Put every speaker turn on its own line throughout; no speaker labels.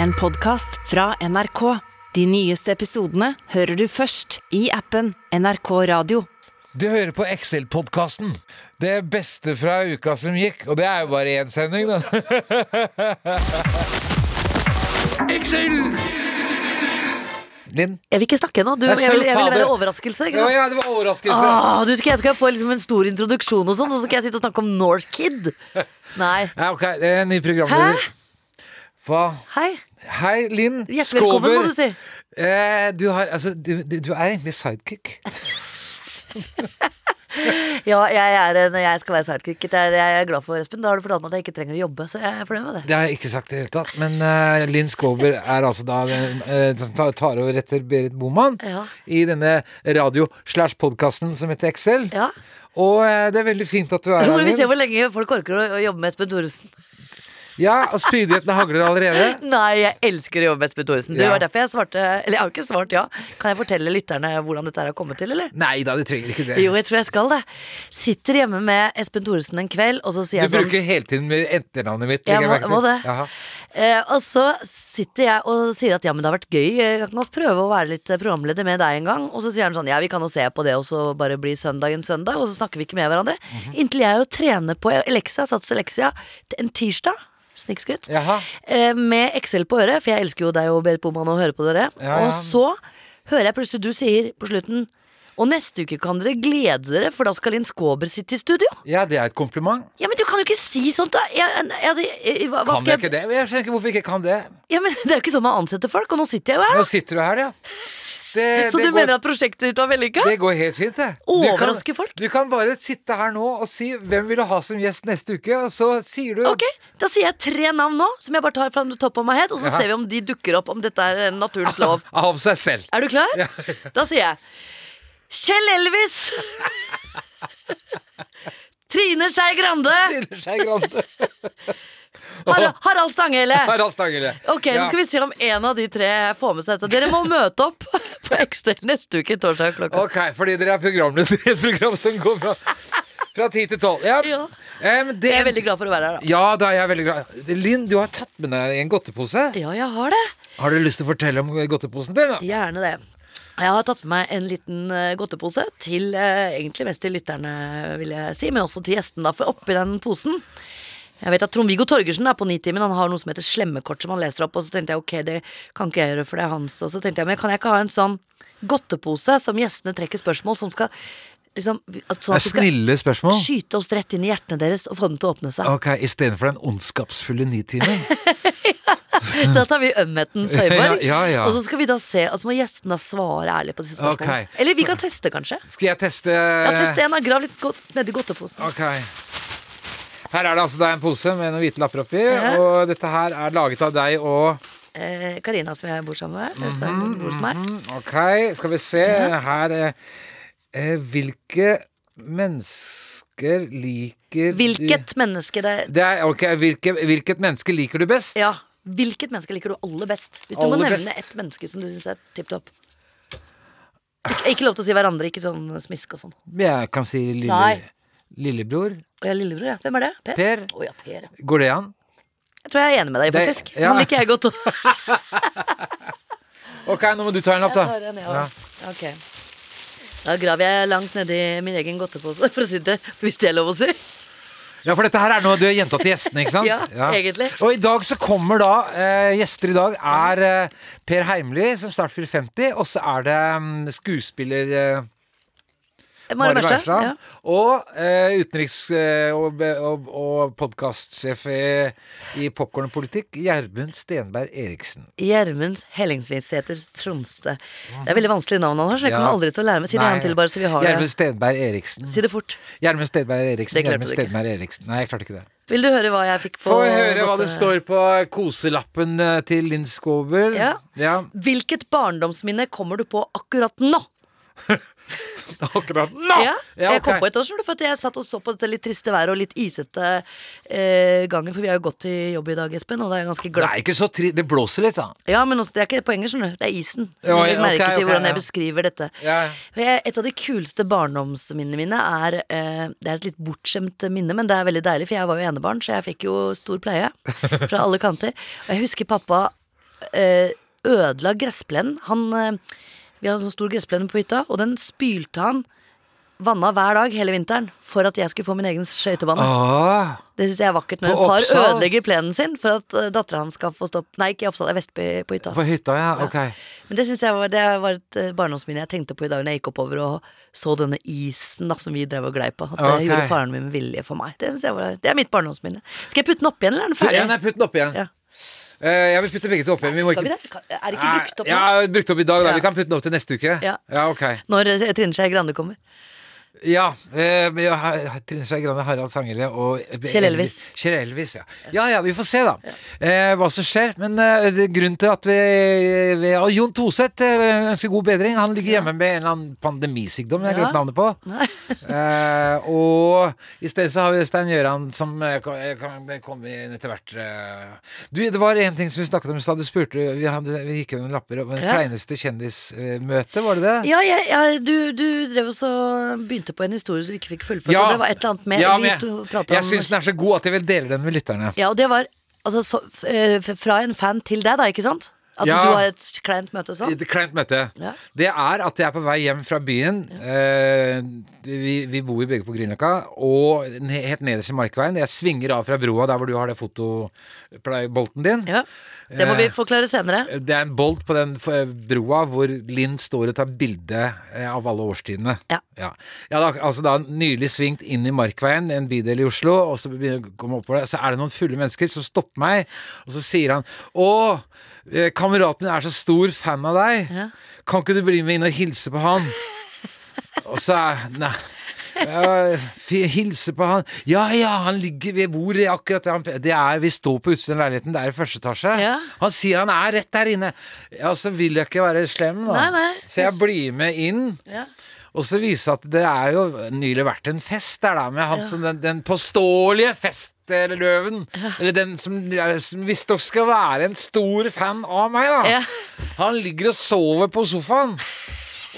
En podcast fra NRK. De nyeste episodene hører du først i appen NRK Radio.
Du hører på Excel-podkasten. Det beste fra uka som gikk. Og det er jo bare én sending, da. Linn?
Jeg vil ikke snakke nå. Du,
Nei,
jeg, vil, jeg vil
fader.
være overraskelse.
Ja,
Ikke sant?
ja, det var overraskelse.
Ah, du skal, jeg skal få liksom en stor introduksjon, og sånn, og så skal jeg sitte og snakke om Norkid. Nei.
Ja, ok, det er en ny programleder. Hva?
Hei.
Hei, Linn
Hjertelig velkommen, må du si.
Eh, du, har, altså, du, du du er egentlig sidekick.
Ja, jeg, er en, jeg skal være sidekick. Det er jeg er glad for, Espen. Da har du fortalt meg at jeg ikke trenger å jobbe, så jeg er fornøyd med det.
Det har jeg ikke sagt i det hele tatt. Men eh, Linn Skåber er altså da den eh, som tar- tar over etter Berit Boman
Ja.
i denne radio-slash-podkasten som heter Excel.
Ja.
Og eh, det er veldig fint at du er
Nå
her.
må vi se
Linn.
hvor lenge folk orker å, å jobbe med Espen Thoresen.
Ja, og spydighetene hagler allerede.
Nei, jeg elsker å jobbe med Espen Thoresen. Det
Ja.
var derfor jeg svarte Eller jeg har ikke svart ja. Kan jeg fortelle lytterne hvordan dette her har kommet til, eller?
Nei da, du trenger ikke det.
Jo, jeg tror jeg skal det. Sitter hjemme med Espen Thoresen en kveld, og så sier
du
jeg sånn
bruker hele tiden med etternavnet mitt.
Jeg
legger
må,
merke til.
må det.
Jaha.
Eh, og så sitter jeg og sier at ja, men det har vært gøy. Jeg kan godt prøve å være litt eh, programleder med deg en gang. Og så sier han sånn ja, vi kan jo se på det, og så bare blir søndagen søndag. Og så snakker vi ikke med hverandre.
Mhm.
Inntil jeg er og trener på Elexia, Sats Elexia, t- en tirsdag. Snikskutt.
Jaha.
Eh, med Excel på øret, for jeg elsker jo deg og Berit Boman å høre på dere.
Ja, ja.
Og så hører jeg plutselig du sier på slutten og neste uke kan dere glede dere, for da skal Linn Skåber sitte i studio.
Ja, det er et kompliment.
Ja, Men du kan jo ikke si sånt, da! Jeg, jeg, jeg, hva, hva
Kan
skal
jeg ikke det? Jeg skjønner ikke hvorfor jeg ikke kan det.
ja, men Det er jo ikke sånn man ansetter folk, og nå sitter jeg jo her.
Nå
da.
sitter du her, ja. Det,
Så
det
du
går-
mener at prosjektet ditt var vellykka?
Det går helt fint, det. Du kan-
Overraske folk.
Du kan bare sitte her nå og si 'Hvem vil du ha som gjest neste uke?' Og så sier du
Ok, Da sier jeg tre navn nå, som jeg bare tar fra topp av my head, og så
Ja.
ser vi om de dukker opp, om dette er eh, naturens lov.
av seg selv.
Er du klar? Da sier jeg Kjell Elvis. Trine Skei Grande.
Trine Skei Grande.
Har Harald Stanghelle.
Harald Stanghelle.
Ok, Nå skal vi se om en av de tre får med seg dette. Dere må møte opp på Excel neste uke torsdag klokka
Ok, fordi dere er programledere i et program som går fra, fra 10 til 12. Ja.
Ja.
Em, det,
Jeg er veldig glad for å være her, da.
Ja, da er jeg veldig glad. Linn, du har tatt med deg en godtepose.
Ja, jeg har det.
Har du lyst til å fortelle om godteposen din? da?
Gjerne det. Jeg har tatt med meg en liten eh, godtepose til eh, egentlig mest til lytterne, vil jeg si, men også til gjestene, da, for oppi den posen jeg vet at Trond-Viggo Torgersen er på Nitimen. Han har noe som heter slemmekort, som han leser opp. Og så tenkte jeg ok, det kan ikke jeg gjøre, for det er hans. Og så tenkte jeg, men kan jeg ikke ha en sånn godtepose som gjestene trekker spørsmål som skal liksom at, Sånn
Det
at
er
vi skal
snille spørsmål.
skyte oss rett inn i hjertene deres og få dem til å åpne seg.
Ok, Istedenfor den ondskapsfulle nitimen.
Så da tar vi ømheten Søyborg,
Ja, ja, ja.
og så skal vi da se. Og så må gjestene da svare ærlig på disse spørsmålene.
Ok.
Eller vi kan teste, kanskje.
Skal jeg teste
Ja, test en, da.
Eh.
Grav litt godt nedi godteposen.
Ok Her er det altså da en pose med noen hvite lapper oppi,
Ja.
og dette her er laget av deg og
Eh, Karina, som jeg bor sammen med. eller
Mhm.
som bor hos meg.
Mm, Ok, skal vi se her eh, eh, Hvilke mennesker liker du-
Hvilket menneske det
det er, ok, hvilke, Hvilket menneske liker du best?
Ja. Hvilket menneske liker du aller best? Hvis du må
Aller
nevne
best.
ett menneske som du syns er tipp topp. Ikke, ikke lov til å si hverandre, ikke sånn smisk og sånn.
Jeg kan si lille,
Nei.
lillebror.
Og jeg er lillebror, ja. Hvem er det? Per?
Per.
Å, ja, per. ja.
Går det an?
Jeg tror jeg er enig med deg,
Det-
faktisk.
ja.
Han liker jeg godt. også.
Ok, nå må du ta en lapp,
Jeg
da.
tar en, ja. Ok. Da graver jeg langt nedi min egen godtepose, for å si det, hvis det er lov å si.
Ja, for dette her er noe du har gjenta til gjestene, ikke sant?
Ja, egentlig.
Og i dag så kommer da eh, Gjester i dag er eh, Per Heimly, som snart fyller 50, og så er det mm, skuespiller eh,
Mari Bergstad. Ja.
Og eh, utenriks- eh, og, be- og, og podkastsjef i, i Popkorn og politikk, Gjermund Stenberg Eriksen.
Gjermund Hellingsviseter Tronste. Det er veldig vanskelig navn han har, så jeg kommer
Ja.
aldri til å lære meg. Si
Nei.
det igjen til, bare så vi har
Gjermund
det.
Stenberg Eriksen.
Si det fort.
Gjermund Stenberg Eriksen.
Det klarte
Gjermund
du ikke.
Stenberg Eriksen. Nei, jeg klarte ikke det.
Vil du høre hva jeg fikk
Få
på
høre hva
godte-
det står på koselappen eh, til Linn Skåber.
Ja.
ja.
eh, Hvilket barndomsminne kommer du på akkurat nå?
Akkurat nå!
Ja, Jeg kom
ok.
på et år, skjønner du, for at jeg satt og så på dette litt triste været og litt isete eh, gangen, for vi har jo gått til jobb i dag, Espen, og det er ganske
Det
glatt.
er ikke så tri... Det blåser litt, da.
Ja, men også, det er ikke poenget, skjønner du. Det er isen.
Ja,
Legg
ja,
merke
ok,
til
ok,
hvordan
ja.
jeg beskriver dette.
Ja, ja.
Og jeg- Et av de kuleste barndomsminnene mine er eh, Det er et litt bortskjemt minne, men det er veldig deilig, for jeg var jo enebarn, så jeg fikk jo stor pleie fra alle kanter. Og jeg husker pappa eh, ødela gressplenen. Han eh, Vi har en sånn stor gressplen på hytta, og den spylte han vanna hver dag hele vinteren for at jeg skulle få min egen skøytebane.
Ah,
Det syns jeg er vakkert når
På
en far
Oppsal?
ødelegger plenen sin for at uh, dattera hans skal få stopp Nei, ikke i Oppsal, det er Vestby på hytta.
på hytta, ja. Ok.
Men det synes jeg var, det var et eh, barndomsminne jeg tenkte på i dag når jeg gikk oppover og så denne isen da, som vi drev og glei på. At
Ok.
det gjorde faren min med vilje for meg. Det, synes jeg var, det er mitt barndomsminne. Skal jeg putte den opp igjen, eller er den
Putt-
ferdig?
Ja, nei, putt den opp igjen.
Ja.
Eh, jeg vil putte begge to opp igjen. Vi må
Skal vi
ikke
det? Kan- Er det ikke brukt opp nå?
Ja, brukt opp i dag, da.
Ja.
Vi kan putte den opp til neste uke.
Ja.
ok.
Når eh, Trine Skei Grande kommer.
Ja. eh, men jeg har- Trine Skei Grande, Harald Sangere og
Kjell Elvis.
Kjell Elvis, ja. Ja ja, vi får se, da. Eh, hva som skjer. Men eh, det- grunnen til at vi, vi og Jon Toseth eh, ønsker god bedring. Han ligger hjemme med en eller annen pandemisykdom jeg
Ja.
glemte navnet på.
Nei.
Eh, og i stedet så har vi Stein Gjøran som eh, kan- eh, kan komme inn etter hvert. eh. Du, det var en ting som vi snakket om i stad. Du spurte Vi, hadde, vi gikk gjennom lapper om det
Ja.
kleineste kjendismøtet, var det det?
Ja, jeg, jeg, du, du drev og så begynte på en historie du ikke fikk fullført. Og det var et eller annet mer.
Ja,
vi
men
sto og
jeg
pratet
jeg
om-
syns den er så god at jeg vil dele den med lytterne.
Ja, og det var altså, så, f- eh, f- fra en fan til deg, da, ikke sant? At
Ja.
du har et kleint møte sånn.
Et kleint møte.
Ja.
Det er at jeg er på vei hjem fra byen. Eh, vi, vi bor jo begge på Grünerløkka. Og ne- helt nederst i Markveien. Jeg svinger av fra broa der hvor du har det fotobolten din.
Ja. Det må
Eh,
vi forklare senere.
Det er en bolt på den eh, broa hvor Linn står og tar bilde eh, av alle årstidene.
Ja.
Jeg hadde ak- altså da nylig svingt inn i Markveien, en bydel i Oslo, og så begynner jeg å komme oppover der, så er det noen fulle mennesker som stopper meg, og så sier han Å, eh, kameraten min er så stor fan av deg.
Ja.
Kan ikke du bli med inn og hilse på han? og så er Nei. Ja, fi- hilse på han Ja, ja, han ligger ved bordet akkurat der han pe- Det er, vi står på utsiden av leiligheten, det er i første etasje
Ja.
Han sier han er rett der inne Ja, så vil jeg ikke være slem da
Nei, nei.
Så jeg blir med inn
Ja.
Og så viser at det er jo nylig vært en fest der da Med han som den, den påståelige festløven Eller den som, som visst dere skal være en stor fan av meg da
Ja.
Han ligger og sover på sofaen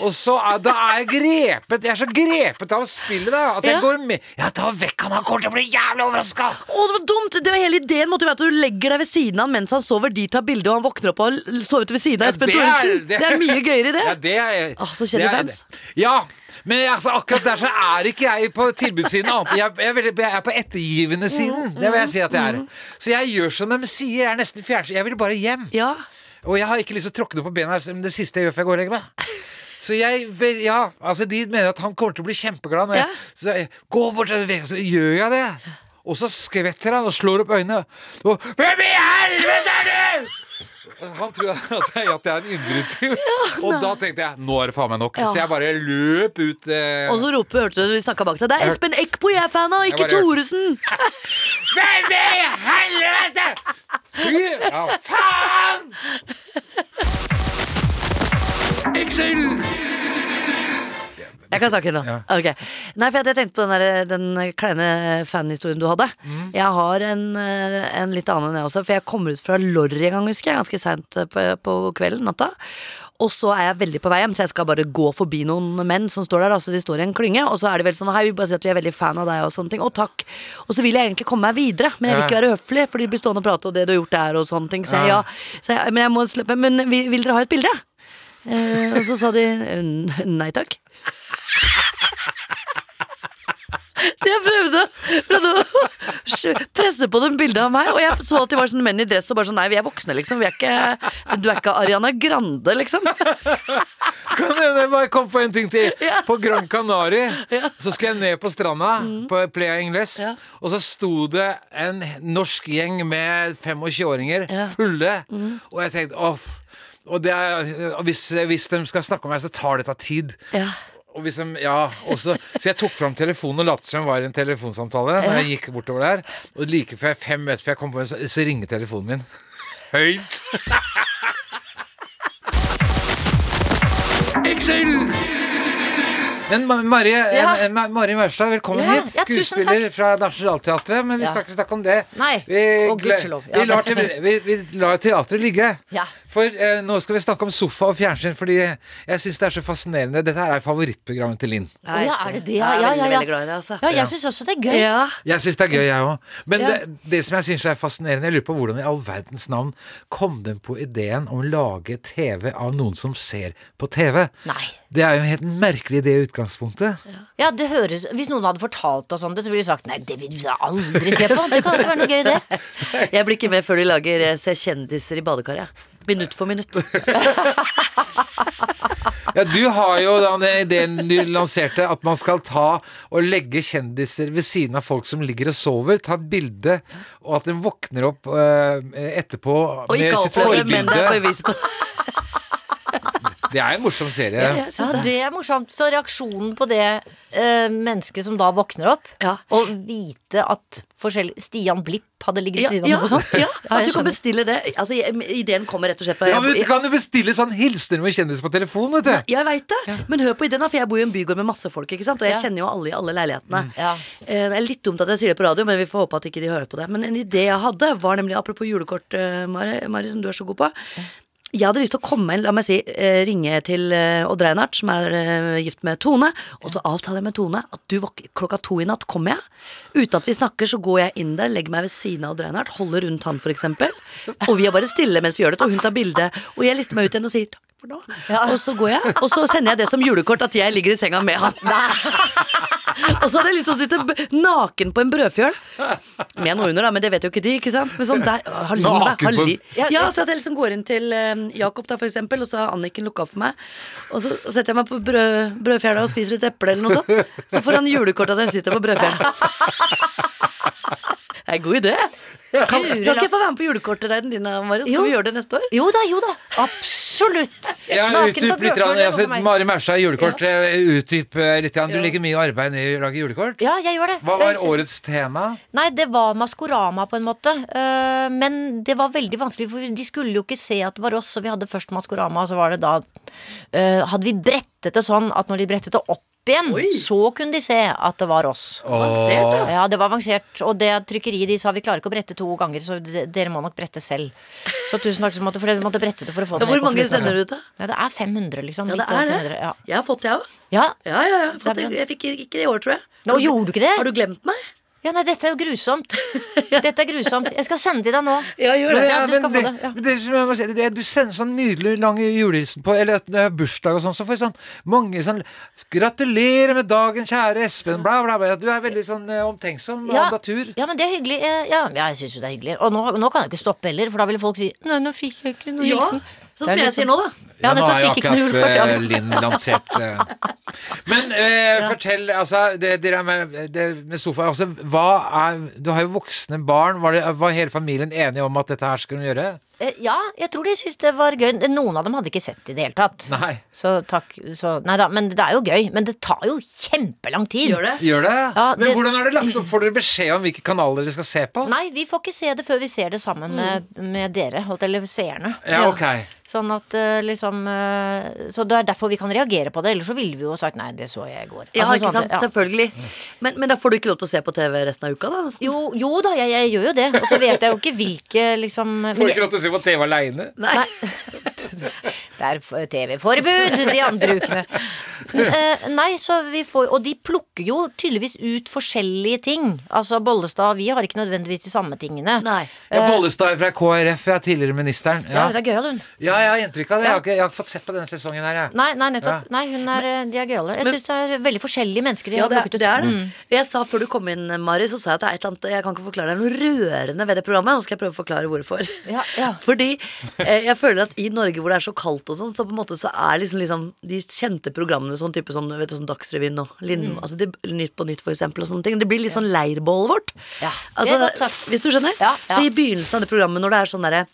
og så er, da er jeg grepet Jeg er så grepet av spillet da At jeg
Ja.
går med Ja, ta vekk han, han kommer til å bli jævlig overrasket
Å, det var dumt! Det var Hele ideen måtte jo være at du legger deg ved siden av han mens han sover. De tar bilde, og han våkner opp og har l- sovet ved siden av Espen
det er-
Thoresen. Det,
det-
er mye gøyere i det.
Ja, det er
Åh, så
det
kjedelig
er-
fans.
Ja, men altså, akkurat der så er ikke jeg på tilbudssiden annet. Jeg, jeg, er veldig- jeg er på ettergivende siden. Det vil jeg si at
Mm,
jeg er. Så jeg gjør som de sier. Jeg er nesten fjernsynt. Jeg vil bare hjem.
Ja.
Og jeg har ikke lyst til å tråkke noe på bena, som det siste jeg gjør før jeg går og legger meg. Så jeg Ja, altså, de mener at han kommer til å bli kjempeglad når jeg
Ja.
Så jeg går bort til veggen, så gjør jeg det. Og så skvetter han og slår opp øynene. Og Hvem i helvete er du?! Han tror at jeg, at jeg er en innbruddstyv. og da tenkte jeg nå er det faen meg nok.
Ja.
Så jeg bare løp ut. Eh,
Og så roper, hørte du vi snakka bak deg. Det er Espen Eckbo jeg er fan av,
Jeg
ikke
bare-
Thoresen!
Hvem i helvete?! Fy ja, faen!
Jeg kan snakke nå.
Ja.
Ok. Nei, for jeg tenkte på den, der, den kleine fanhistorien du hadde.
Mm.
Jeg har en, eh, en litt annen enn jeg også, for jeg kommer ut fra Lorry en gang, husker jeg. Ganske seint på, på kvelden, natta. Og så er jeg veldig på vei hjem, så jeg skal bare gå forbi noen menn som står der. Altså, de står i en klynge, og så er de vel sånn Hei, vi bare sier at vi er veldig fan av deg, og sånne ting. Å, takk. Og så vil jeg egentlig komme meg videre, men jeg vil ikke
Ja.
være høflig, for de blir stående og prate om det du har gjort der, og sånne ting. Så jeg, ja.
Ja.
Så jeg, men jeg må slippe. Men vil, vil dere ha et bilde? Eh, og så sa de "N- nei takk. Så jeg prøvde, prøvde å skjø- presse på dem bildet av meg, og jeg så at de var sånn menn i dress og bare sånn Nei, vi er voksne, liksom. Vi er ikke, du er ikke Ariana Grande, liksom.
Kan hende jeg bare kom på en ting til.
Ja.
På Gran Canaria så skulle jeg ned på stranda på Playa Ingles,
Mm. Ja.
og så sto det en norsk gjeng med 25-åringer
Ja. Mm.
fulle, og jeg tenkte off. Og det er, hvis, hvis de skal snakke om meg, så tar dette tid.
Ja.
Og hvis de, ja, og så- så jeg tok fram telefonen og lot som jeg var i en telefonsamtale. Når jeg gikk bortover der Og like før jeg fem minutter før jeg kom på meg, så, så ringer telefonen min. Høyt! Men Ma- Marie,
Ja.
eh, Ma- Marie Maurstad, velkommen
Ja,
hit.
ja, tusen
Skuespiller fra Nationaltheatret. Men vi
Ja.
skal ikke snakke om det.
Nei,
Vi,
og
gle-
gudskjelov. Ja,
vi, lar
det-
te vi, vi lar teatret ligge.
Ja.
For eh, nå skal vi snakke om sofa og fjernsyn, fordi jeg syns det er så fascinerende. Dette her er favorittprogrammet til Linn.
Å ja, er det det? Ja,
Jeg
ja, ja.
er veldig,
ja.
veldig glad i det, altså.
Ja, jeg syns også det er gøy.
Ja.
Jeg syns det er gøy, jeg òg. Men
Ja.
det, det som jeg syns er fascinerende, jeg lurer på hvordan i all verdens navn kom den på ideen om å lage TV av noen som ser på TV?
Nei.
Det er jo en helt merkelig idé i utgangspunktet.
Ja, det høres Hvis noen hadde fortalt oss om det, så ville vi sagt nei, det vil vi aldri se på. Det kan ikke være noe gøy, det.
Jeg blir ikke med før de lager eh, Se kjendiser i badekaret. jeg. Minutt for minutt.
Ja, du har jo den ideen du lanserte, at man skal ta og legge kjendiser ved siden av folk som ligger og sover, ta bilde, og at den våkner opp eh, etterpå
Og ikke alt for det, men det er
forbilde.
bevis på
Det er en morsom serie.
Ja, det er morsomt. Så reaksjonen på det eh, mennesket som da våkner opp,
Ja.
og vite at forskjellig Stian Blipp hadde ligget
ja,
ved siden
ja,
av noe sånt.
ja, At du
jeg
kan
sånn.
skjønner.
bestille det. Altså, jeg- ideen kommer rett og slett fra
Ja, men
jeg-
du kan jo bestille sånn hilsener med kjendis på telefon, vet du.
Jeg veit det, men hør på ideen, da. For jeg bor i en bygård med masse folk, ikke sant. Og jeg
Ja.
kjenner jo alle i alle leilighetene.
Mm.
Ja.
Eh, Det er litt dumt at jeg sier det på radio, men vi får håpe at ikke de hører på det. Men en idé jeg hadde, var nemlig apropos julekort, eh, Mari, Mari som du er så god på. Jeg hadde lyst til å komme inn, la meg si, eh, ringe til eh, Odd Reinhardt, som er eh, gift med Tone, og så avtaler jeg med Tone at du våk- klokka to i natt kommer jeg. Uten at vi snakker, så går jeg inn der, legger meg ved siden av Odd Reinhardt, holder rundt han, for eksempel. Og vi er bare stille mens vi gjør det, og hun tar bilde. Og jeg lister meg ut igjen og sier takk for nå. Og så går jeg, og så sender jeg det som julekort at jeg ligger i senga med han. Og så hadde jeg lyst til å sitte b- naken på en brødfjøl. Med noe under, da, men det vet jo ikke de. ikke sant? Men sånn der, har liv, da,
Naken
har
på en-
liv. Ja, så at jeg liksom går inn til eh, Jakob, da, for eksempel, og så har Anniken lukka for meg. Og så og setter jeg meg på brød, brødfjela og spiser et eple eller noe sånt. Så får han julekort at jeg sitter på brødfjela. Det er en god idé. Kan, kan ikke jeg få være med på julekortreiden din, Marius?
Jo.
Skal vi gjøre det neste år?
Jo da, jo da. Absolutt.
Ja, utdyp litt. grann.
er noe
Altså,
for meg.
Mari Maurstad, julekort. eh, Utdyp eh, litt. grann. Du legger mye arbeid ned i å lage julekort.
Ja, jeg gjør det.
Hva
Det
var
er-
årets tema?
Nei, det var Maskorama på en måte. eh, men det var veldig vanskelig, for de skulle jo ikke se at det var oss. Så vi hadde først Maskorama, og så var det da eh, Hadde vi brettet det sånn at når de brettet det opp igjen, så kunne de se at det var oss.
Avansert, ja.
Ja, det var avansert. Og det trykkeriet de sa vi klarer ikke å brette to ganger, så de- dere må nok brette selv. Så tusen takk, så måtte, for dere måtte brette det for å få det
Hvor mange
slutten.
sender du ut, da?
Ja, det er 500, liksom.
Ja, det
Litt
er
over
det.
500, Ja.
Jeg har fått det, jeg òg.
ja.
Ja, ja, ja. jeg har fått
Det er
det.
bra.
Jeg fikk ikke det i år, tror jeg.
Nå, gjorde du ikke det?
Har du glemt meg?
ja, nei, dette er jo grusomt. Dette er grusomt. Jeg skal sende til deg nå.
Ja, gjør
Men,
det.
ja, men
du skal få
det,
det, ja.
men det, som jeg må si, det, du sender sånn nydelig lang julehilsen på Eller at når jeg har bursdag og sånn, så får jeg sånn mange sånn 'Gratulerer med dagen, kjære Espen', bla, bla, bla. Du er veldig sånn eh, omtenksom av natur.
ja, men det er hyggelig. Eh, Ja, ja jeg syns jo det er hyggelig. Og nå, nå kan jeg ikke stoppe heller, for da ville folk si Nei, nå fikk jeg ikke noe
Ja,
hilsen.
Sånn som jeg sier nå, da.
Ja, nettopp, fikk ikke noe julekort.
eh,
Ja.
Linn lansert eh. Men eh, fortell, altså det, Dere med, det, med sofa altså, hva er, Du har jo voksne barn. Var, det, var hele familien enige om at dette her skulle de gjøre?
Eh, ja, jeg tror de syntes det var gøy. Noen av dem hadde ikke sett det i det hele tatt.
Nei.
Så takk. Så, nei da, men det er jo gøy. Men det tar jo kjempelang tid.
Gjør det.
Gjør det?
Ja,
Men
det-
hvordan er det lagt opp? Får dere beskjed om hvilke kanaler dere skal se på?
Nei, vi får ikke se det før vi ser det sammen med, med dere, holdt, eller seerne.
Ja, ok.
Sånn at eh, liksom eh, Så det er derfor vi kan reagere på det. Ellers så ville vi jo sagt nei, det så jeg i går.
Ja,
Altså,
ikke
sånn at-
sant,
ja.
selvfølgelig men, men da får du ikke lov til å se på TV resten av uka, da? nesten.
Jo, jo da, jeg, jeg gjør jo det. Og så vet jeg jo ikke hvilke liksom men
Får
jeg-
ikke lov til å se på TV aleine?
Nei.
Det er f- TV-forbud de andre ukene. Eh, nei, så vi får Og de plukker jo tydeligvis ut forskjellige ting. Altså Bollestad og vi har ikke nødvendigvis de samme tingene.
Nei.
Ja, Bollestad fra KrF, jeg er tidligere ministeren.
Ja,
Ja.
hun er gøyal, hun.
ja, jeg har inntrykk av det. Jeg har ikke, jeg har ikke fått sett på denne sesongen her, jeg.
Nei, nei, nettopp.
Ja.
Nei, hun er, eh, de er gøyale. Jeg
Men-
syns det er veldig forskjellige mennesker de
Ja,
har
det, er-
plukket ut.
det er det. Jeg sa før du kom inn, Mari, så sa jeg at det er et eller annet Jeg kan ikke forklare det er noe rørende ved det programmet. Nå skal jeg prøve å forklare hvorfor.
Ja, ja.
Fordi eh, jeg føler at i Norge hvor det er så kaldt og sånn, så på en måte så er liksom, liksom de kjente programmene sånn type sånn, vet du, sånn Dagsrevyen og Lind,
Mm.
altså de, Nytt på Nytt for eksempel og sånne ting. Det blir litt sånn leirbålet vårt.
Ja, det er
Altså,
godt sagt.
hvis du skjønner?
Ja, ja.
Så i begynnelsen av det programmet når det er sånn derre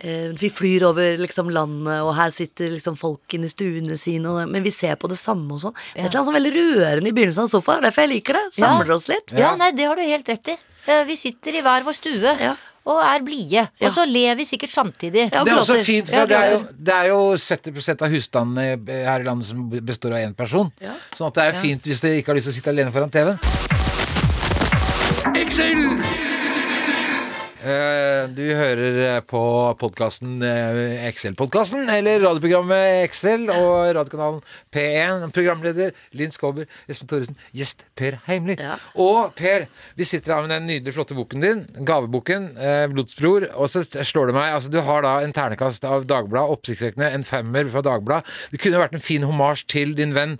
eh, vi flyr over liksom, landet, og her sitter liksom, folk inne i stuene sine. Og, men vi ser på det samme og sånn. Et eller annet sånn veldig rørende i begynnelsen av sofaen. Derfor jeg liker det. Samler
Ja.
oss litt.
Ja, nei, det har du helt rett i. Eh, Vi sitter i hver vår stue.
Ja.
og er blide.
Ja.
Og så ler vi sikkert samtidig.
Ja,
Det er også
gråter.
fint,
Ja,
for det er, jo,
gråter.
det er jo 70 av husstandene eh, her i landet som består av én person.
Ja.
Sånn at det er fint hvis dere ikke har lyst til å sitte alene foran TV-en. Eh, Du hører eh, på podkasten Excel-podkasten, eller radioprogrammet Excel og radiokanalen P1. Programleder Linn Skåber, Espen Thoresen, gjest Per Heimly.
Ja.
Og Per, vi sitter her med den nydelig flotte boken din, gaveboken, eh, Blodsbror. Og så slår det meg, altså du har da en ternekast av Dagbladet, oppsiktsvekkende, en femmer fra Dagbladet. Det kunne vært en fin homasj til din venn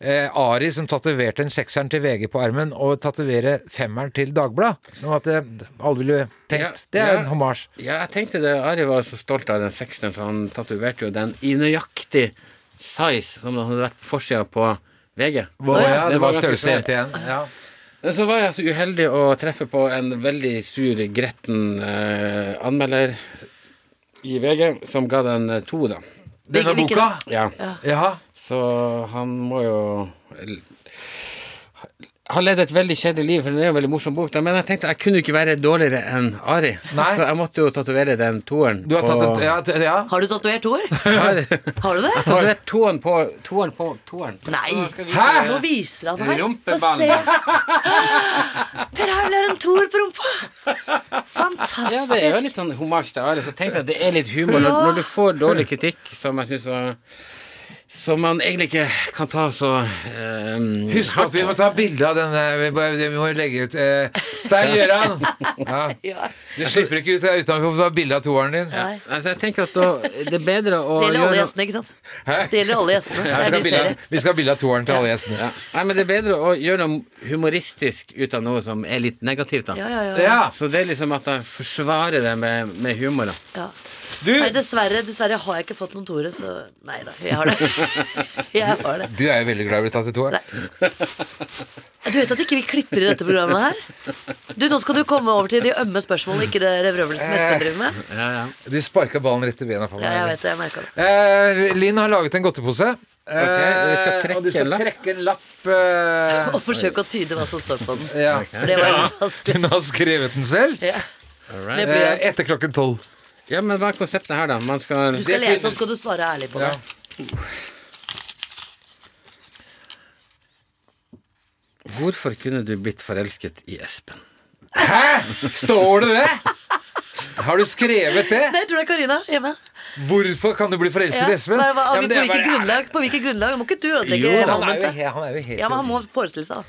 eh, Ari, som tatoverte en sekseren til VG på armen, og tatovere femmeren til Dagbladet. Sånn at eh, alle ville tenkt.
Ja,
Det er
ja.
en homasj.
Ja, jeg tenkte det. Ari var så stolt av den seksten, for han tatoverte jo den i nøyaktig size som den hadde vært på forsida på VG.
Å ja, det var
ganske
størrelse
svær.
1 til 1. Ja.
Men så var jeg så uheldig å treffe på en veldig sur, gretten eh, anmelder i VG som ga den eh, to, da.
Denne
Hvilken-
boka?
Ja.
Ja.
Så han må jo l- har levd et veldig kjedelig liv, for det er jo en veldig morsom bok. da, Men jeg tenkte jeg kunne jo ikke være dårligere enn Ari,
Nei.
så jeg måtte jo tatovere den toeren.
Du har tatt en Ja. t- ja.
Har du tatovert toer?
en
Har du det?
Tatovert toeren på toeren på toeren.
Nei.
Så skal vi-
Hæ?
Nå viser han her. Få se.
Rumpeballen.
Per Haugl har en toer på rumpa!
Ja, det er jo
Fantastisk.
litt sånn hommage til Ari. Så tenk deg at det er litt humor når, når du får dårlig kritikk, som jeg syns var Som man egentlig ikke kan ta så eh,
Husk at vi må ta bilde av denne. Vi må, vi må legge ut eh, Stein Gjøran! Ja.
Ja.
Du slipper ikke ut uten å få bilde av toeren din.
Nei.
Altså, jeg tenker at da, det er bedre å
Det gjelder alle
gjøre
gjestene, ikke sant?
Hæ?
Det gjelder alle
Ja,
gjestene.
vi,
Det
skal
er ny
ha bilde av,
serie.
vi skal ha bilde av toeren til alle gjestene.
ja. Nei, men det er bedre å gjøre noe humoristisk ut av noe som er litt negativt, da.
Ja, ja, ja.
Ja.
Så det er liksom at jeg forsvarer det med, med humor, da.
ja.
Du,
Nei, dessverre, dessverre har jeg ikke fått noen toere, så Nei da, jeg har det. Jeg har det.
du er jo veldig glad i å bli tatt i toeren.
Du vet at ikke vi klipper i dette programmet her? Du, Nå skal du komme over til de ømme spørsmålene, ikke det røvrøvlet som
Eh.
Espen driver med.
Ja, ja.
Du sparka ballen rett i bena på meg.
Ja, jeg vet det, jeg merket det.
Eh, Linn har laget en godtepose.
vi skal trekke
Eh, og du skal
en lapp.
trekke en lapp. eh,
Og forsøk å tyde hva som står på den.
ja.
For det var litt vanskelig.
Hun har skrevet den selv.
Ja.
All right.
Med
Eh,
blyant.
etter klokken tolv.
ja, men hva er konseptet her, da? Man skal
Du skal
det
lese,
finnes-
og så skal du svare ærlig på det.
Hvorfor kunne du blitt forelsket i Espen?
Hæ? Står det det? St- Har du skrevet det?
Nei, jeg tror det er Karina hjemme.
Hvorfor kan du bli forelsket
Ja.
i Espen?
Hva- hva-
Ja, men
på
det er
hvilket
bare-
grunnlag? På hvilket grunnlag? Må ikke du ødelegge
Jo,
Han er jo,
allment, da?
he- han er jo helt
Ja, men han må forestille seg, da.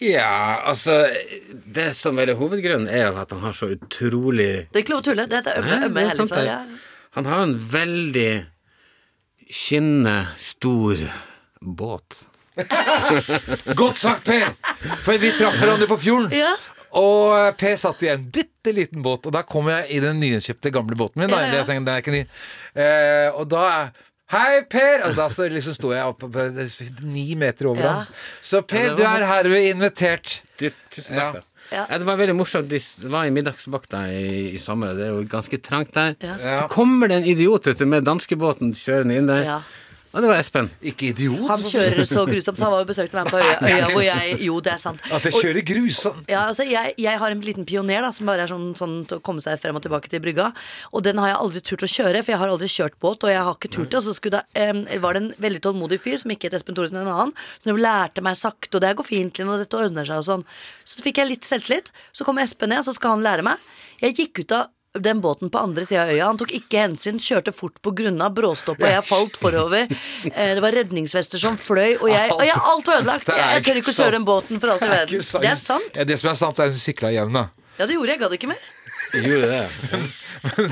Ja, altså Det som vel er hovedgrunnen, er jo at han har så utrolig
Det er ikke lov å tulle. Det er ømme,
Nei,
ømme
det er
hele
sant, det.
svar. Ja.
Han har jo en veldig skinnende stor båt.
Godt sagt, Per! For vi traff hverandre på fjorden.
Ja.
Og eh, Per satt i en bitte liten båt, og da kom jeg i den nyinnkjøpte gamle båten min. Da,
Ja, ja.
Jeg tenkte, den er ikke ny. Eh, og da er- Hei, Per! Og da står, liksom, står jeg oppe på, på- ni meter over
Ja.
ham. Så Per, du er herved invitert.
Du, tusen
Ja.
takk. da.
Ja.
Ja, det var veldig morsomt. De s- var i middagsbakta i, i sommer, og det er jo ganske trangt der.
Ja.
Ja.
Så kommer det en idiot vet du, med danskebåten kjørende inn der,
Ja.
og det var Espen.
Ikke idiot.
Han kjører så grusomt. Han var jo besøkte meg på øya,
Det er
øya
ikke
hvor
sant.
jeg Jo, det er sant.
At jeg
Og-
kjører grus sånn.
Ja, altså jeg, jeg har en liten pioner da, som bare er sånn, sånn til å komme seg frem og tilbake til brygga. Og den har jeg aldri turt å kjøre, for jeg har aldri kjørt båt. Og jeg har ikke turt det. Og så skulle da, em, var det en veldig tålmodig fyr som ikke het Espen Thoresen, men en annen, som lærte meg sakte, og det her går fint, Linn, og dette ordner seg og sånn. Så fikk jeg litt selvtillit. Så kom Espen ned, og så skal han lære meg. Jeg gikk ut av den båten på andre sida av øya. Han tok ikke hensyn, kjørte fort på grunna, bråstoppa, jeg falt forover. Eh, Det var redningsvester som fløy, og jeg, og jeg alt var ødelagt.
Det er
Jeg, jeg tør
ikke
ikke å kjøre
sant.
den båten for alt i verden. Det er sant.
Ja, det som er sant, er at hun sykla igjen, da.
Ja, det gjorde jeg. Gadd ikke mer.
Gjorde det.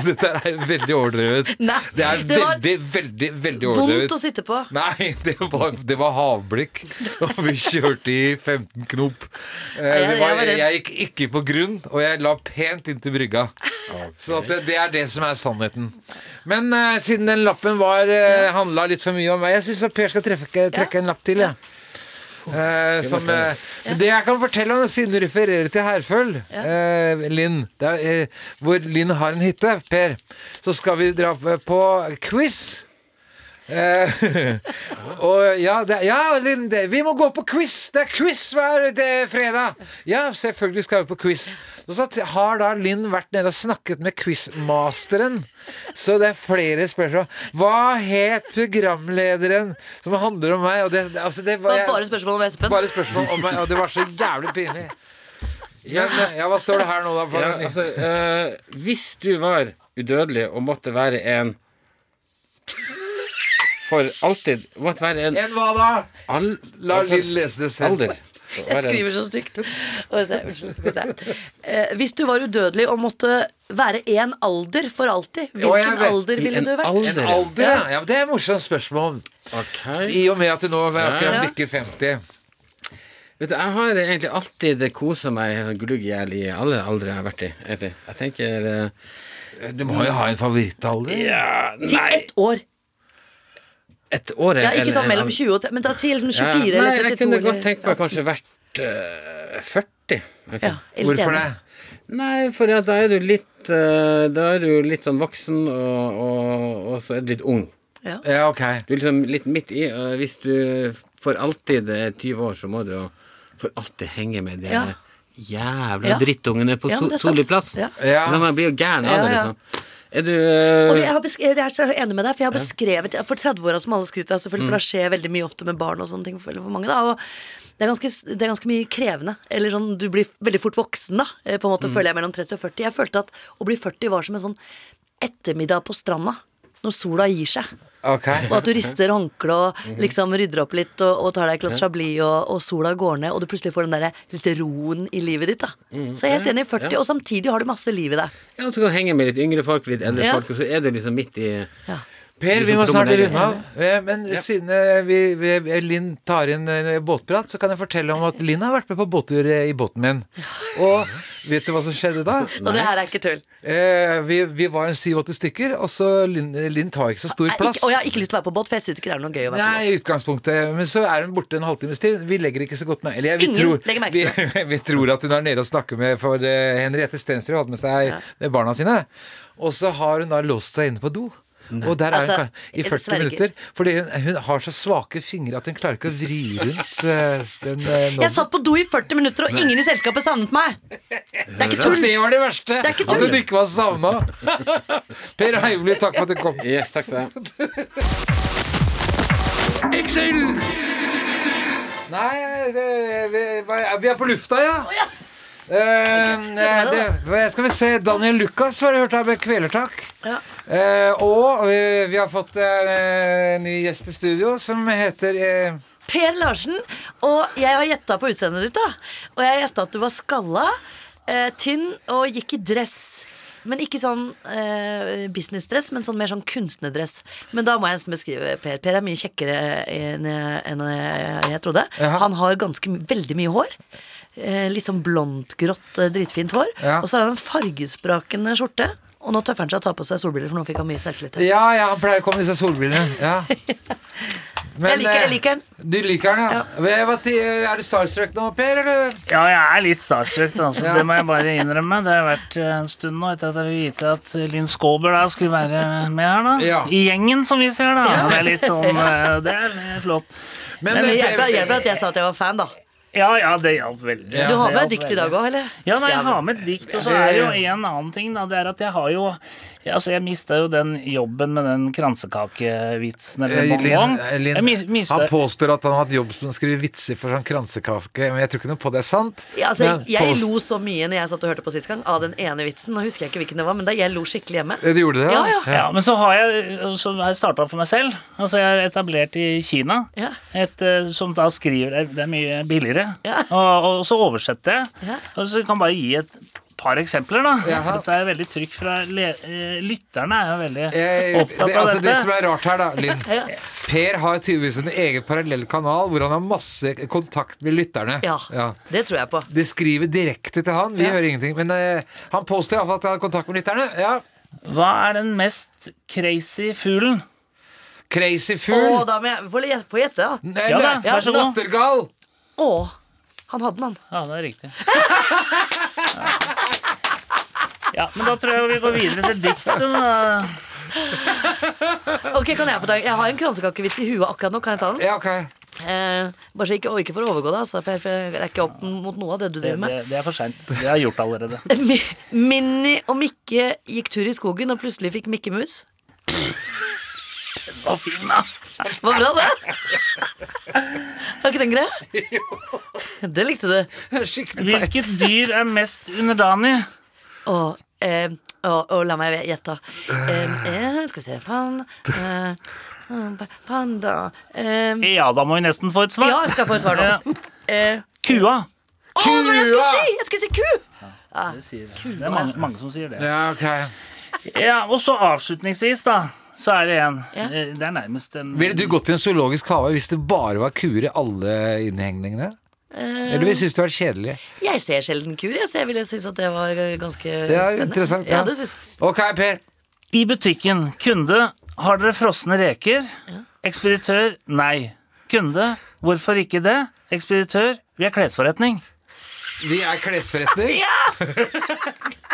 Dette er veldig overdrevet.
Nei,
det er
det var
veldig, veldig, veldig overdrevet.
Vondt å sitte på.
Nei, det var, det var havblikk. Og vi kjørte i 15 knop. Eh, Det
jeg
var,
var redd.
jeg gikk ikke på grunn, og jeg la pent inntil brygga. Så at det, det er det som er sannheten. Men eh, siden den lappen var eh, handla litt for mye om meg Jeg syns Per skal treffe, trekke en lapp til, jeg. Eh, som, eh, men det jeg kan fortelle om, siden du refererer til Herføl, eh, Linn det er, eh, Hvor Linn har en hytte, Per, så skal vi dra på quiz. Eh, og ja, det, ja Linn, det- vi må gå på quiz! Det er quiz hver det, fredag! Ja, selvfølgelig skal vi på quiz. Og så t- har da Linn vært nede og snakket med quizmasteren. Så det er flere spørsmål. Hva het programlederen som handler om meg? Og det, det- altså, det, var-
Det
jeg-
var bare spørsmål om Espen.
bare spørsmål om meg, og det var så jævlig pinlig.
Ja.
Men, eh, ja, hva står det her nå, da? For
Ja,
den-
altså, eh, hvis du var udødelig og måtte være en For alltid Måtte være en
En hva da?
all,
La
altså,
Linn lese det selv.
alder.
Jeg
Være en-
skriver så stygt. Skal vi se, Unnskyld. skal vi se. Eh, Hvis du var udødelig og måtte være én alder for
Å,
alltid,
jeg
hvilken
vet.
alder ville
En
du vært?
alder.
En alder, ja. ja men det er et morsomt spørsmål.
Ok.
I og med at du nå
Ja.
akkurat bikker 50.
Vet du, jeg har egentlig alltid kosa meg helt sånn glugg i hjel i alle aldre jeg har vært i. Egentlig. Jeg tenker eh,
Du må jo ha en favorittalder.
Ja,
Si ett år.
Et år
Ja,
eller
ikke sånn
en
mellom
annen-
20 og 30, men da si liksom
Ja,
24
Nei,
eller 32.
jeg kunne godt
eller-
tenkt meg kanskje vært eh, 40. Ok.
Ja, helt
Hvorfor
enig.
det?
Nei, for ja, da er du litt eh, Da er du jo litt sånn voksen, og, og, og så er du litt ung.
Ja.
Ja, ok.
Du er liksom litt midt i. og hvis du for alltid er 20 år, så må du jo for alltid henge med de
Ja.
jævla
Ja.
drittungene på
Ja, men
so
det er sant.
Solli plass.
Ja.
Ja.
Men Man blir jo gæren av
Ja,
det,
ja.
liksom. Er du eh,
Og jeg, har besk- jeg er så enig med deg, for jeg har beskrevet For 30-åra som alle skryter av, selvfølgelig, for det skjer veldig mye ofte med barn og sånne ting for, for mange, da. Og det er, ganske, s- det er ganske mye krevende. Eller sånn, du blir veldig fort voksen, da. eh, På en måte føler jeg mellom 30 og 40. Jeg følte at å bli 40 var som en sånn ettermiddag på stranda. Når sola gir seg.
Ok.
Og at du rister håndkleet og liksom rydder opp litt og, og tar deg et glass Chablis, og, og sola går ned, og du plutselig får den der litt roen i livet ditt. da Så jeg er helt enig i 40, og samtidig har du masse liv i deg.
Ja, så kan du henge med litt yngre folk, litt eldre
Ja.
folk, og så er du liksom midt i
Per, vi må snart runde av. Eh, Men siden eh, vi, vi, eh, Linn tar inn eh, båtprat, så kan jeg fortelle om at Linn har vært med på båttur eh, i båten min. Og vet du hva som skjedde da?
Og det her er ikke tull.
Eh, vi, vi var en syv-åtte stykker, og så Linn, Linn tar ikke så stor
Jeg er
plass.
Ikke, og jeg har ikke lyst til å være på båt, for jeg syns ikke det er noe gøy å være
Nei, i utgangspunktet. Men så er hun borte en halvtimes tid. Vi legger ikke så godt med Eller, ja, vi,
Ingen
tror,
legger merke
vi, vi tror at hun er nede og snakker med For eh, Henriette Stensrud hadde med seg eh, barna sine. Og så har hun da låst seg inne på do. Og der er hun ka-
Altså,
i
jeg
40
sverger.
minutter. Fordi hun, hun har så svake fingre at hun klarer ikke å vri rundt eh, den eh,
på. Jeg
nålen.
satt på do i 40 minutter, og ingen i selskapet savnet meg. Det er
Og
ikke tull.
det var det verste!
er ikke
At
tull.
hun ikke var savna. per Heimly, takk for at du kom.
Yes, takk skal du ha.
Nei, det, vi, hva- vi er på lufta, ja. Eh,
meg
det, hva- skal vi se. Daniel Lucas har jeg hørt her med Kvelertak. Eh, og eh, vi har fått eh, en ny gjest i studio som heter eh,
Per Larsen, og jeg har gjetta på utseendet ditt, da. Og jeg har gjetta at du var skalla, eh, tynn og gikk i dress. Men ikke sånn eh, businessdress, men sånn mer sånn kunstnerdress. Men da må jeg nesten beskrive Per. Per er mye kjekkere enn jeg, enn jeg, jeg trodde.
Jaha.
Han har ganske my- veldig mye hår. Eh, litt sånn blondgrått, eh, dritfint hår.
Ja.
Og så har han en fargesprakende skjorte. Og nå tøffer han seg å ta på seg solbriller, for nå fikk han mye selvtillit.
Ja, ja, han pleier å komme i disse solbrillene. Ja. Men,
Jeg liker- jeg
eh,
liker den.
Du liker den, ja. Hva- hva ti- Er du starstruck nå, Per? Eller?
Ja, jeg er litt starstruck, altså.
Ja.
det må jeg bare innrømme. Det har vært eh, en stund nå etter at jeg vil vite at eh, Linn Skåber da skulle være med her, da.
Ja.
I gjengen, som vi ser, da. Det er litt sånn eh, Det er eh, flott.
Men,
Men det
eh,
hjelper
Per-
hjelper at jeg sa at jeg var fan, da.
Ja, ja, det hjalp veldig.
Ja,
Du har
Det
med
hjalp
deg dikt
veldig.
i dag òg, eller?
Ja, nei, jeg har med et dikt, og så er det jo en annen ting, da. Det er at jeg har jo Altså, jeg mista jo den jobben med den kransekakevitsen eller
Eh,
bongbong.
Linn,
Jeg mis-
Linn, han
mistet-
påstår at han har hatt jobb som å skrive vitser for sånn kransekake, men jeg tror ikke noe på det er sant.
Ja, altså,
Men
jeg
påst-
lo så mye når jeg satt og hørte på sist gang av den ene vitsen. Nå husker jeg ikke hvilken det var, men da jeg lo skikkelig hjemme.
Eh, Du gjorde det,
Ja, ja.
Ja, men så har jeg, så har jeg starta for meg selv. Altså, jeg er etablert i Kina.
Ja.
Et, eh, som da skriver det, er- det er mye billigere.
Ja.
Og, og så oversetter jeg.
Ja.
Og så kan jeg bare gi et par eksempler, da.
Jaha.
Dette er veldig trykk fra le, eh, lytterne. er jo veldig
Eh,
opptatt
det,
av
altså det
dette.
som er rart her, da, Linn Per har tydeligvis en egen parallell kanal hvor han har masse kontakt med lytterne.
Ja,
Ja.
det tror jeg på.
De skriver direkte til han, vi
Ja.
hører ingenting. Men eh, han påstår iallfall at han har kontakt med lytterne. Ja.
Hva er den mest crazy fuglen?
Crazy
Å,
fugl.
da må jeg få le- få gjette, da.
Eller
Ja da, vær så god.
lattergal.
Å, han hadde den, han.
Ja, det er riktig. Ja. ja, men da tror jeg vi går videre til diktet. da.
Ok, Ok, kan Jeg få ta Jeg har en kransekakevits i huet akkurat nå. Kan jeg ta den?
Ja, ok.
Eh, bare så ikke, og ikke for å overgå deg, altså, for jeg rekker opp mot noe av det du
Det,
driver med. Eh,
det, det er for seint. Det har jeg gjort allerede.
Mi- Minni og Mikke gikk tur i skogen og plutselig fikk Mikke Mus.
Å, fin, da.
Var bra, det? Var ikke den grei? Det likte du.
Skikkelig teit.
Hvilket dyr er mest underdanig?
Og, eh, og, og la meg gjette. Eh, eh, skal vi se Pan, eh, eh, Panda eh,
Ja, da må vi nesten få et svar.
Ja, jeg skal få et svar nå.
Ja.
Eh,
Kua.
Å, det var det jeg skulle si! Jeg skulle si ku!
Det, sier, det er mange, mange som sier det.
Ja, ok.
Ja, og så avslutningsvis, da, så er det en.
Ja.
Eh, Det er nærmest en
Ville du gått i en zoologisk hage hvis det bare var kuer i alle innhengningene? Eller ville du synes det var kjedelig?
Jeg ser sjelden kur. Jeg ser, ville synes at det var ganske
er
spennende.
interessant,
ja.
ja.
det synes
Ok, Per.
I butikken, kunde, har dere frosne reker? Ekspeditør, nei. Kunde, hvorfor ikke det? Ekspeditør, vi er klesforretning.
Vi er klesforretning.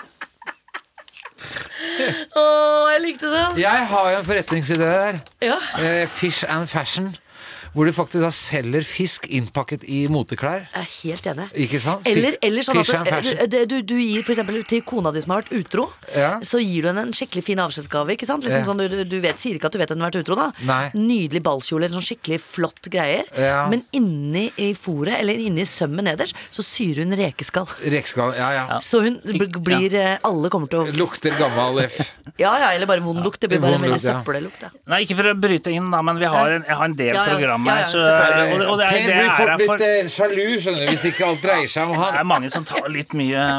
Å, jeg likte det!
Jeg har jo en forretningsidé der.
Ja.
Eh, Fish and Fashion. Hvor de faktisk da selger fisk innpakket i moteklær.
Jeg er helt enig.
Ikke sant? Fish-
Eller, eller sånn
Fish and
at
Fashion.
du, du, du, du gir for eksempel til kona di som har vært utro,
Ja.
så gir du henne en skikkelig fin avskjedsgave. Ikke sant? Liksom
Ja.
sånn, du, du vet, sier ikke at du vet at hun har vært utro, da.
Nei.
Nydelig ballkjole, eller sånn skikkelig flott greier.
Ja.
Men inni i fôret, eller inni sømmen nederst, så syr hun rekeskall.
Rekeskall. Ja, ja.
Så hun b- blir eh, Alle kommer til å
Lukter gammal F.
Ja ja, eller bare vond lukt. Det blir bare en
Vond
veldig
lukt, ja.
søppellukt. Ja.
Nei, ikke for å bryte inn, da, men vi har en, jeg har en del
Ja, ja.
program
Ja,
her.
ja,
så,
selvfølgelig.
og det, og det, er,
Per
det,
blir
er
fort
her
litt
for,
eh, sjalu, skjønner du, hvis ikke alt dreier seg om
det
han.
er mange som tar litt mye eh,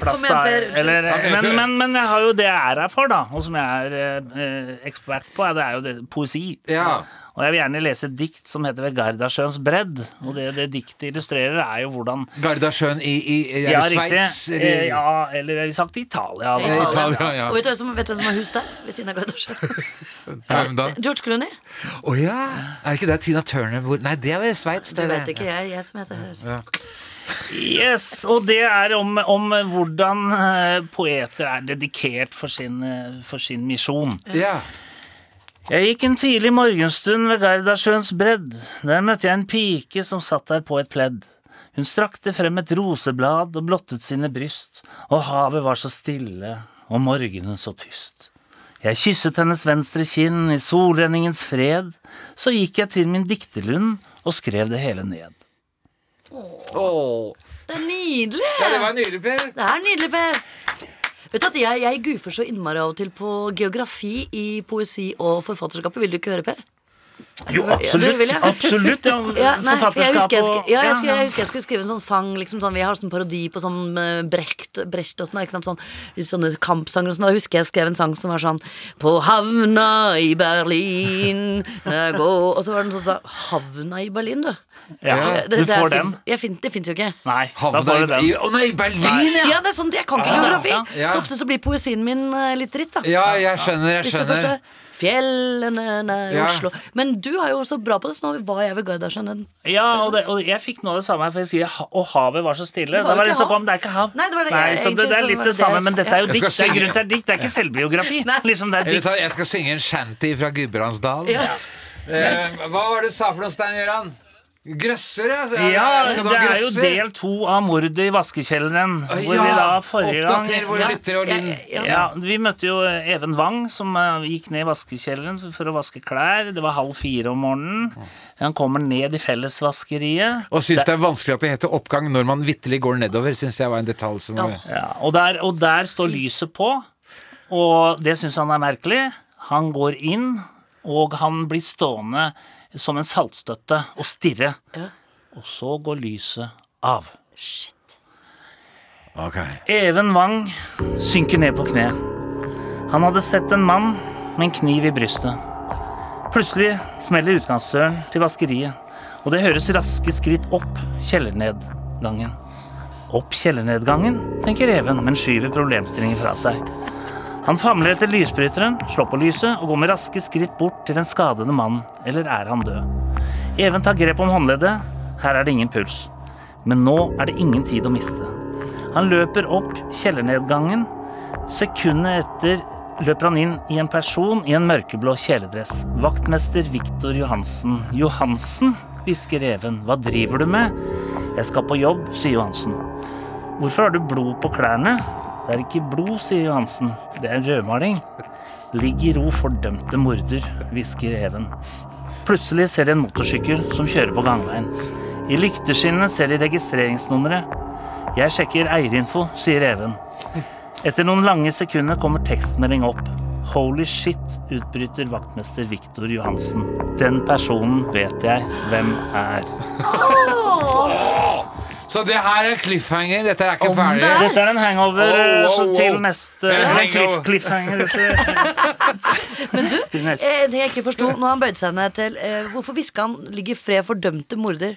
plass
Kom igjen,
der.
Per.
Eller,
Ja, Per.
men, men, men jeg har jo det jeg er her for, da, og som jeg er eh, ekspert på, det er jo det, poesi.
Ja.
Og jeg vil gjerne lese et dikt som heter 'Ved Gardasjøens bredd'. Og det det diktet illustrerer, er jo hvordan
Gardasjøen i, i, i er
Ja,
det
riktig.
Sveits? eller-
Eh, Ja, eller jeg ville sagt Italia.
Ja,
Da.
Italia.
Italia, ja.
Og vet du hvem som, vet du hvem som har hus der? Ved siden av Gardasjøen.
Heimdal.
George Clooney.
Å ja! Er ikke det Tina Turner bor Nei, det er ved Sveits.
Det
Det,
vet ikke
det.
jeg. Jeg som heter
Yes, Og det er om, om hvordan eh, poeter er dedikert for sin, eh, for sin misjon.
Ja.
Jeg gikk en tidlig morgenstund ved Gardasjøens bredd. Der møtte jeg en pike som satt der på et pledd. Hun strakte frem et roseblad og blottet sine bryst, og havet var så stille og morgenen så tyst. Jeg kysset hennes venstre kinn i solrenningens fred, så gikk jeg til min dikterlund og skrev det hele ned.
Åh.
Det er nydelig!
ja, det var nydelig, Per.
Det er nydelig, Per. Vet du at Jeg, jeg goofer så innmari av og til på geografi i poesi og forfatterskapet. Vil du ikke høre, Per?
Jo,
det vil
absolutt.
jeg.
absolutt ja,
Ja, nei, for jeg, husker jeg,
forfatterskap
skulle,
og-
ja, jeg, skulle,
ja.
jeg husker jeg skulle skrive en sånn sang. Liksom sånn, vi har sånn parodi på sånn eh, Brecht, Brecht og sånn, ikke sant? Sånn, sånne kampsanger og sånn. Da husker jeg jeg skrev en sang som var sånn På havna i Berlin jeg går Og så var den sånn sånn Havna i Berlin, du.
Ja,
Det-
du
det er fin-
får den.
Jeg fin, det fins jo ikke.
Nei, da
Havna
får du
i
den.
Å nei, Berlin, ja!
Ja, det er sånn, Jeg kan ikke
Ja,
geografi,
ja,
ja.
så ofte så blir poesien min eh, litt dritt. da
Ja, jeg skjønner, jeg
Hvis du
skjønner.
forstår. Fjellene nær
Ja.
Oslo. Men du er jo så bra på det, så nå var jeg ved Gardasjøen. den-
Ja, og, det, og jeg fikk noe av det samme her, for jeg sier ha- og havet var så stille.
Det
Det
var
var,
jo
det
ikke
som
hav.
kom, det er ikke hav.
Nei, det var det-
Nei,
jeg-
så
egentlig
det, det
så
er litt
var
det
det
samme,
det-
men dette er
Jeg
jo
skal
dikt. Det er
synge-
grunnen til at det er dikt, det er ikke selvbiografi. Liksom, det er
Eller
dikt.
ta, jeg skal synge en shanty fra Gudbrandsdalen. Eh, hva var det du sa for noe, Stein Gøran? Grøsser, ja? så-
Ja,
skal du
det
ha
er jo
grøsser?
del to av mordet i vaskekjelleren, hvor
Ja,
vi da forrige
Oppdater
gang
våre lyttere og din
Ja, ja.
ja, Vi møtte jo Even Wang, som eh, gikk ned i vaskekjelleren for- for å vaske klær. Det var halv fire om morgenen. Han kommer ned i fellesvaskeriet.
Og syns det er vanskelig at det heter oppgang når man vitterlig går nedover, syns jeg var en detalj som
Ja, og, der, og der står lyset på, og det syns han er merkelig. Han går inn, og han blir stående som en saltstøtte og stirre. Og så går lyset av.
Ok.
Even Wang synker ned på kne. Han hadde sett en mann med en kniv i brystet. Plutselig smeller utgangsdøren til vaskeriet, og det høres raske skritt opp kjellernedgangen. Opp kjellernedgangen, tenker Even, men skyver problemstillingen fra seg. Han famler etter lysbryteren, slår på lyset og går med raske skritt bort til den skadede mannen, eller er han død? Even tar grep om håndleddet, her er det ingen puls. Men nå er det ingen tid å miste. Han løper opp kjellernedgangen. Sekundet etter løper han inn i en person i en mørkeblå kjeledress. Vaktmester Viktor Johansen. Johansen, hvisker reven. Hva driver du med? Jeg skal på jobb, sier Johansen. Hvorfor har du blod på klærne? Det er ikke blod, sier Johansen. Det er rødmaling. Ligg i ro, fordømte morder, hvisker reven. Plutselig ser de en motorsykkel som kjører på gangveien. I lykteskinnet ser de registreringsnummeret. Jeg sjekker eierinfo, sier reven. Etter noen lange sekunder kommer tekstmelding opp. Holy shit, utbryter vaktmester Viktor Johansen. Den personen vet jeg hvem er.
Så det her er cliffhanger. Dette er ikke ferdig.
Dette er en hangover eh,
Oh, wow,
så til
wow.
neste eh,
En
en
hangover.
cliff, cliffhanger. Men du? Til neste.
Eh, Det jeg ikke forsto, når han bøyde seg ned til eh, Hvorfor hviska han 'ligg i fred, fordømte morder'?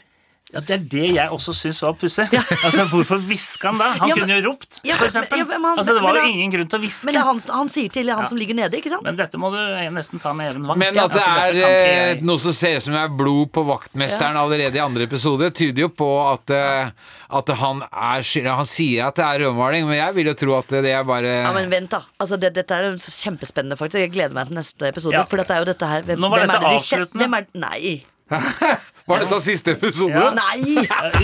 Ja, det er det jeg også syns var pussig. Altså, hvorfor hviska han da? Han
Ja, men-
kunne jo ropt,
Ja,
for
men-
eksempel.
ja, men han-
altså, det var
men
jo
han-
ingen grunn til å hviske.
Men det er han, han sier til han som ligger nede, ikke sant?
Men dette må du eh, nesten ta med Even Wang.
Men at det
Altså, dette
er
kan ikke
eh,
jeg-
noe som ser ut som det er blod på vaktmesteren allerede i andre episode, tyder jo på at, eh, at han er skyldig. Han sier at det er rødmaling, men jeg vil jo tro at det er bare
Ja, men vent da, altså, det, Dette er jo så kjempespennende, faktisk. Jeg gleder meg til neste episode.
Ja.
For dette er jo dette her hvem,
Nå var
hvem er
dette
det de kjen-
avsluttende.
Hvem er, nei.
Var dette siste episode?
Ja.
Nei!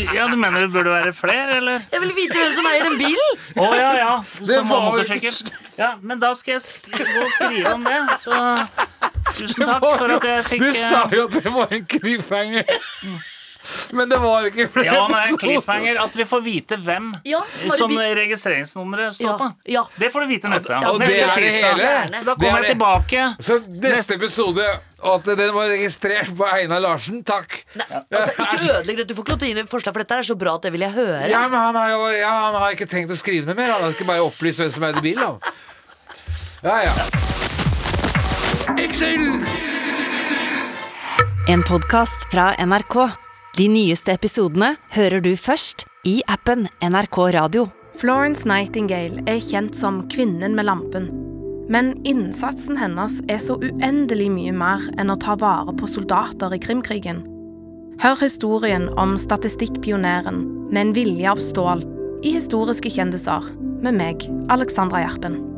Ja, du mener det burde være flere, eller?
Jeg vil vite hvem som eier den bilen!
Å ja, ja.
Det
Som
var jo
motorsykkel. Ja, men da skal jeg sk- gå og skrive om det. Så tusen takk for at jeg fikk
Du
eh,
sa jo at det var en cliffhanger! Men det var ikke flere
ja, men det er en
episoder.
cliffhanger At vi får vite hvem
Ja, som har
som
bil-
registreringsnummeret står
Ja,
på.
ja.
Det får du vite neste gang.
Og det
Neste
er det
tirsdag.
hele! Det
Så
Så da
er
kommer jeg
det.
tilbake.
Så neste episode, og at den var registrert på Einar Larsen, takk.
Nei, altså, ikke ødelegg dette. Du får ikke lov til å gi noe forslag, for dette er så bra at det vil jeg høre.
Ja, men han har jo ja, han har ikke tenkt å skrive det mer. Han har ikke bare opplyst hvem som eide bilen. han. Ja, ja.
En podkast fra NRK. De nyeste episodene hører du først i appen NRK Radio.
Florence Nightingale er kjent som kvinnen med lampen. Men innsatsen hennes er så uendelig mye mer enn å ta vare på soldater i krimkrigen. Hør historien om statistikkpioneren med en vilje av stål i Historiske kjendiser med meg, Alexandra Gjerpen.